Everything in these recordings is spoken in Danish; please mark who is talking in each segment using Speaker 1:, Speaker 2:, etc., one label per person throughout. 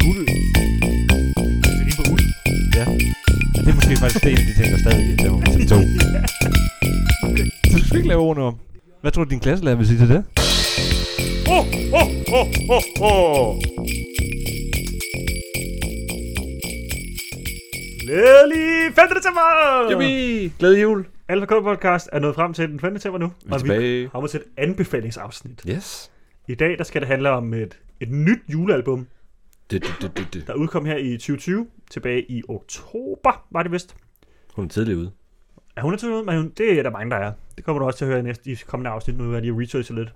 Speaker 1: guld.
Speaker 2: Det er Altså, lige på uld.
Speaker 1: Og det er måske faktisk det, en af de ting, der stadig er på til to. Så du skal ikke lave ordene om. Hvad tror du, din klasselærer vil sige til det?
Speaker 2: Glædelig 5. december!
Speaker 3: Jubi! Glædelig jul!
Speaker 2: Alpha Code Podcast er nået frem til den 5. december nu.
Speaker 3: Vi er tilbage.
Speaker 2: kommer til et anbefalingsafsnit.
Speaker 3: Yes.
Speaker 2: I dag der skal det handle om et, et nyt julealbum,
Speaker 3: Det, det, det, det, det.
Speaker 2: der udkom her i 2020. Tilbage i oktober, var det vist.
Speaker 3: Hun er tidlig ude.
Speaker 2: Er hun naturlig, men hun- det er der mange, der er. Det kommer du også til at høre i næste, i kommende afsnit, nu er de researchet lidt.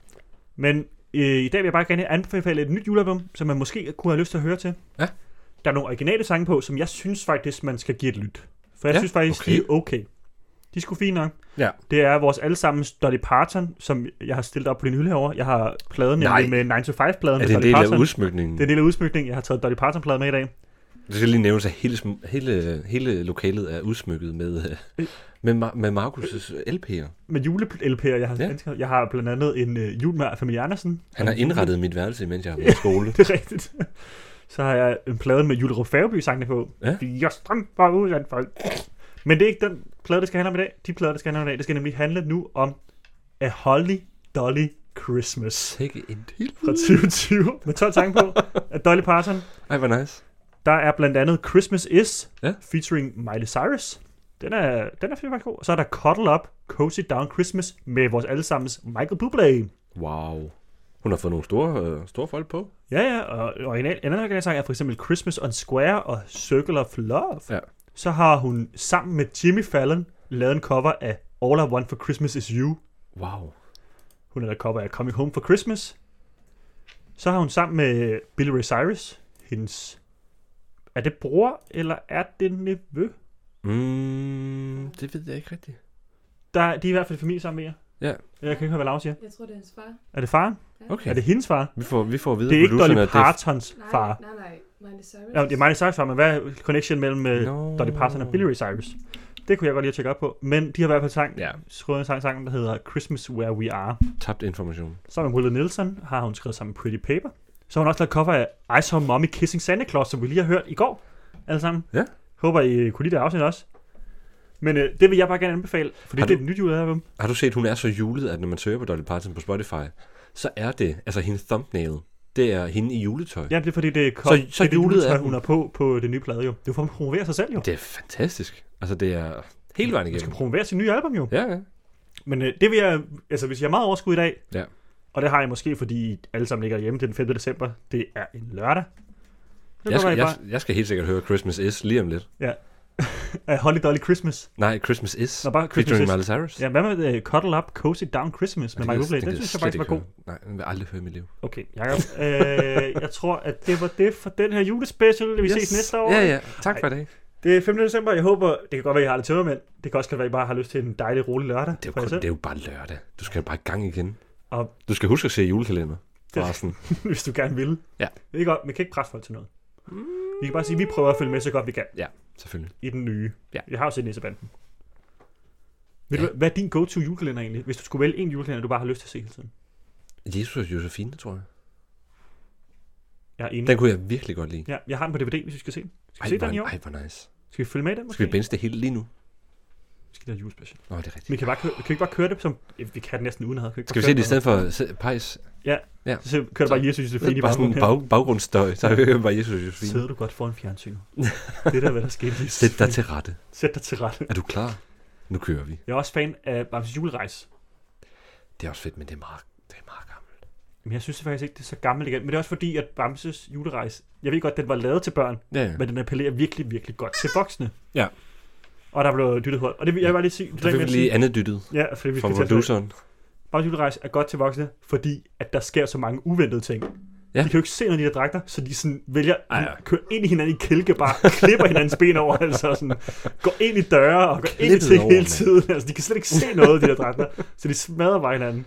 Speaker 2: Men øh, i dag vil jeg bare gerne anbefale et nyt julealbum, som man måske kunne have lyst til at høre til.
Speaker 3: Ja.
Speaker 2: Der er nogle originale sange på, som jeg synes faktisk, man skal give et lyt. For jeg ja,
Speaker 3: Ja,
Speaker 2: synes faktisk, okay.
Speaker 3: okay.
Speaker 2: de er okay. De skulle fine nok.
Speaker 3: Ja.
Speaker 2: Det er vores allesammens Dolly Parton, som jeg har stillet op på din hylde herovre. Jeg har pladen
Speaker 3: Nej.
Speaker 2: nemlig med 9 to 5-pladen med
Speaker 3: Er det en
Speaker 2: Dolly
Speaker 3: del
Speaker 2: Parton.
Speaker 3: af udsmykningen?
Speaker 2: Det er en del af udsmykningen. Jeg har taget Dolly Parton-pladen med i dag.
Speaker 3: Det skal lige nævnes, at hele, sm- hele, hele lokalet er udsmykket med, øh, med, Ma- med Markus' LP'er.
Speaker 2: Med jule-LP'er, jeg har
Speaker 3: Ja.
Speaker 2: ja. Jeg har blandt andet en øh, jul med familie Andersen.
Speaker 3: Han har indrettet mit værelse, mens jeg har været i skole.
Speaker 2: Det er rigtigt. Så har jeg en plade med Julerup Færgeby sangene på.
Speaker 3: Ja.
Speaker 2: Jeg strømper ud af folk. Men det er ikke den plade, det skal handle om i dag. De plader, det skal handle om i dag, det skal nemlig handle nu om A Holly Dolly Christmas
Speaker 3: Sikke en del.
Speaker 2: fra 2020 med 12 sange på af Dolly Parton.
Speaker 3: Ej, hvor nice.
Speaker 2: Der er blandt andet Christmas Is
Speaker 3: Ja.
Speaker 2: featuring Miley Cyrus. Den er, den er faktisk god. Og så er der Cuddle Up, Cozy Down Christmas med vores allesammens Michael Bublé.
Speaker 3: Wow. Hun har fået nogle store, øh, store folk på.
Speaker 2: Ja, ja, og original, en anden original sang er for eksempel Christmas on Square og Circle of Love.
Speaker 3: Ja.
Speaker 2: Så har hun sammen med Jimmy Fallon lavet en cover af All I Want for Christmas Is You.
Speaker 3: Wow.
Speaker 2: Hun har lavet cover af Coming Home for Christmas. Så har hun sammen med Billy Ray Cyrus, hendes... Er det bror, eller er det nevø?
Speaker 3: Mm, det ved jeg ikke rigtigt.
Speaker 2: Der, de er i hvert fald familie sammen med jer.
Speaker 3: Ja.
Speaker 2: Jeg kan ikke høre, hvad Laura siger.
Speaker 4: Jeg tror, det er hans far.
Speaker 2: Er det faren? Ja.
Speaker 3: Okay.
Speaker 2: Er det hendes far?
Speaker 3: Vi får, vi får at vide,
Speaker 2: Det er ikke Dolly
Speaker 3: producerne, at
Speaker 2: Partons
Speaker 4: Nej,
Speaker 2: far.
Speaker 4: nej, nej. Miley Cyrus.
Speaker 2: Ja, det er Miley Cyrus far, men hvad er connection mellem øh,
Speaker 3: det no.
Speaker 2: Dolly Parton og Billy Ray Cyrus. Det kunne jeg godt lige tjekke op på. Men de har i hvert fald sang, ja.
Speaker 3: Ja,
Speaker 2: skrevet en sang, sang, der hedder Christmas Where We Are.
Speaker 3: tabt information.
Speaker 2: Sammen med Willie Nelson har hun skrevet sammen med Pretty Paper. Så har hun også lavet cover af I Saw Mommy Kissing Santa Claus, som vi lige har hørt i går. Alle sammen.
Speaker 3: Ja.
Speaker 2: Håber, I kunne lide det afsnit også. Men øh, det vil jeg bare gerne anbefale, fordi
Speaker 3: Har
Speaker 2: det er
Speaker 3: du-
Speaker 2: et nyt julealbum.
Speaker 3: Har du set, hun er så julet, at når man søger på Dolly Parton på Spotify, så er det, altså hendes thumbnail, det er hende i juletøj.
Speaker 2: Ja, det er fordi, det er, kom,
Speaker 3: Så- så
Speaker 2: det er det
Speaker 3: julet
Speaker 2: juletøj,
Speaker 3: er
Speaker 2: hun
Speaker 3: hun.
Speaker 2: er på på det nye plade jo. Det er for at promovere sig selv jo.
Speaker 3: Det er fantastisk. Altså, det er hele vejen
Speaker 2: Hun skal
Speaker 3: igennem.
Speaker 2: promovere sit nye album jo.
Speaker 3: Ja, ja.
Speaker 2: Men øh, det vil jeg, altså hvis jeg har meget overskud i dag,
Speaker 3: Ja.
Speaker 2: og det har jeg måske, fordi I alle sammen ligger hjemme den 5. december, det er en lørdag. Det
Speaker 3: Jeg skal,
Speaker 2: jeg...
Speaker 3: jeg, jeg skal helt sikkert høre Christmas Is lige om lidt.
Speaker 2: Bare, uh, Holly Dolly Christmas.
Speaker 3: Nej, Christmas Is.
Speaker 2: Nå, bare
Speaker 3: featuring
Speaker 2: Christmas
Speaker 3: Miley Cyrus.
Speaker 2: Ja, hvad med uh, Cuddle Up, Cozy Down Christmas med
Speaker 3: Og
Speaker 2: Michael
Speaker 3: det-
Speaker 2: Bublé? Den
Speaker 3: gider
Speaker 2: synes jeg
Speaker 3: slet
Speaker 2: faktisk var
Speaker 3: ikke
Speaker 2: god.
Speaker 3: høre. Nej, den vil jeg aldrig høre i mit liv.
Speaker 2: Okay, Jacob. øh, jeg tror, at det var det for den her julespecial. Vi yes. ses næste år.
Speaker 3: Ja, ja. Tak for i dag.
Speaker 2: Det er 5. december. Jeg håber, det kan godt være, at I har det tømmermænd. Det kan også godt være, at I bare har lyst til en dejlig, rolig lørdag.
Speaker 3: Det er, jo
Speaker 2: for jer
Speaker 3: kun,
Speaker 2: selv.
Speaker 3: det er jo bare lørdag. Du skal jo bare i gang igen.
Speaker 2: Og-
Speaker 3: Du skal huske at se julekalender. Forresten.
Speaker 2: hvis du gerne vil.
Speaker 3: Ja.
Speaker 2: Det er godt. Man kan ikke presse folk til noget. Vi kan bare sige, at vi prøver at følge med så godt vi kan.
Speaker 3: Selvfølgelig.
Speaker 2: i den nye.
Speaker 3: Ja.
Speaker 2: Jeg har jo set Nissebanden. Ved
Speaker 3: Ja.
Speaker 2: du, hvad- hvad er din go-to julekalender egentlig? Hvis du skulle vælge en julekalender, du bare har lyst til at se hele tiden.
Speaker 3: Jesus og Josefine, tror jeg.
Speaker 2: Jeg er enig.
Speaker 3: Den kunne jeg virkelig godt lide.
Speaker 2: Ja, jeg har den på DVD, hvis vi skal se den. Skal vi
Speaker 3: Ej,
Speaker 2: se den i
Speaker 3: hvor,
Speaker 2: år?
Speaker 3: ej, hvor nice.
Speaker 2: Skal vi følge med i den måske?
Speaker 3: Skal vi bense det hele lige nu?
Speaker 2: Skal vi have julespecial?
Speaker 3: Nå, det er rigtigt.
Speaker 2: Vi kan, bare køre, kan vi ikke bare køre det som... Ja, Vi kan det næsten uden at have.
Speaker 3: Skal vi se det i stedet for se- pejs?
Speaker 2: Så se- kører der bare Jesus Josefine i
Speaker 3: Bare
Speaker 2: baggrunden
Speaker 3: sådan en
Speaker 2: her.
Speaker 3: bag, baggrundsstøj. Så hører jeg bare Jesus og Josefine.
Speaker 2: Sidder du godt foran fjernsynet? det der, hvad der skete lige.
Speaker 3: Sæt dig til rette.
Speaker 2: Sæt dig til rette.
Speaker 3: Er du klar? Nu kører vi.
Speaker 2: Jeg er også fan af Bamses julerejse.
Speaker 3: Det er også fedt, men det er meget, det er meget gammelt.
Speaker 2: Men jeg synes faktisk ikke, det er så gammelt igen. Men det er også fordi, at Bamses julerejse... Jeg ved godt, den var lavet til børn,
Speaker 3: Ja, ja.
Speaker 2: men den appellerer virkelig, virkelig godt til voksne.
Speaker 3: Ja.
Speaker 2: Og der blev dyttet hårdt. Og det vil jeg bare lige sige. Det
Speaker 3: Så
Speaker 2: der,
Speaker 3: fik
Speaker 2: jeg vil
Speaker 3: vi lige
Speaker 2: sige.
Speaker 3: andet dyttet
Speaker 2: Ja, fordi vi
Speaker 3: fra
Speaker 2: skal til at
Speaker 3: produceren.
Speaker 2: Bare julerejse er godt til voksne, fordi at der sker så mange uventede ting. Ja.
Speaker 3: Ja.
Speaker 2: De kan jo ikke se, når de der dragter, så de sådan vælger
Speaker 3: Ej,
Speaker 2: at
Speaker 3: ja.
Speaker 2: køre ind i hinanden i kælke, bare klipper hinandens ben over, altså og sådan, går ind i døre og går ind i
Speaker 3: Klippet
Speaker 2: ting
Speaker 3: over,
Speaker 2: hele
Speaker 3: mand.
Speaker 2: tiden. Altså, de kan slet ikke se noget, de der dragter, så de smadrer bare hinanden.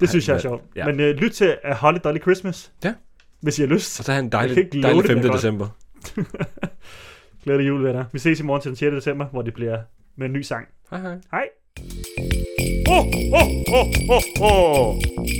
Speaker 2: Det
Speaker 3: Ej,
Speaker 2: synes jeg er
Speaker 3: mand.
Speaker 2: sjovt. Ja.
Speaker 3: Ja.
Speaker 2: Men øh, lyt til A Holly Dolly Christmas,
Speaker 3: Ja.
Speaker 2: hvis I har lyst.
Speaker 3: Og så er han en
Speaker 2: Jeg kan ikke
Speaker 3: dejlig,
Speaker 2: love
Speaker 3: dejlig
Speaker 2: det,
Speaker 3: 5.
Speaker 2: men godt.
Speaker 3: december.
Speaker 2: Glædelig jul, venner. Vi ses i morgen til den 6. december, hvor det bliver med en ny sang.
Speaker 3: Hej hej.
Speaker 2: Hej!
Speaker 5: ho, ho, ho, ho.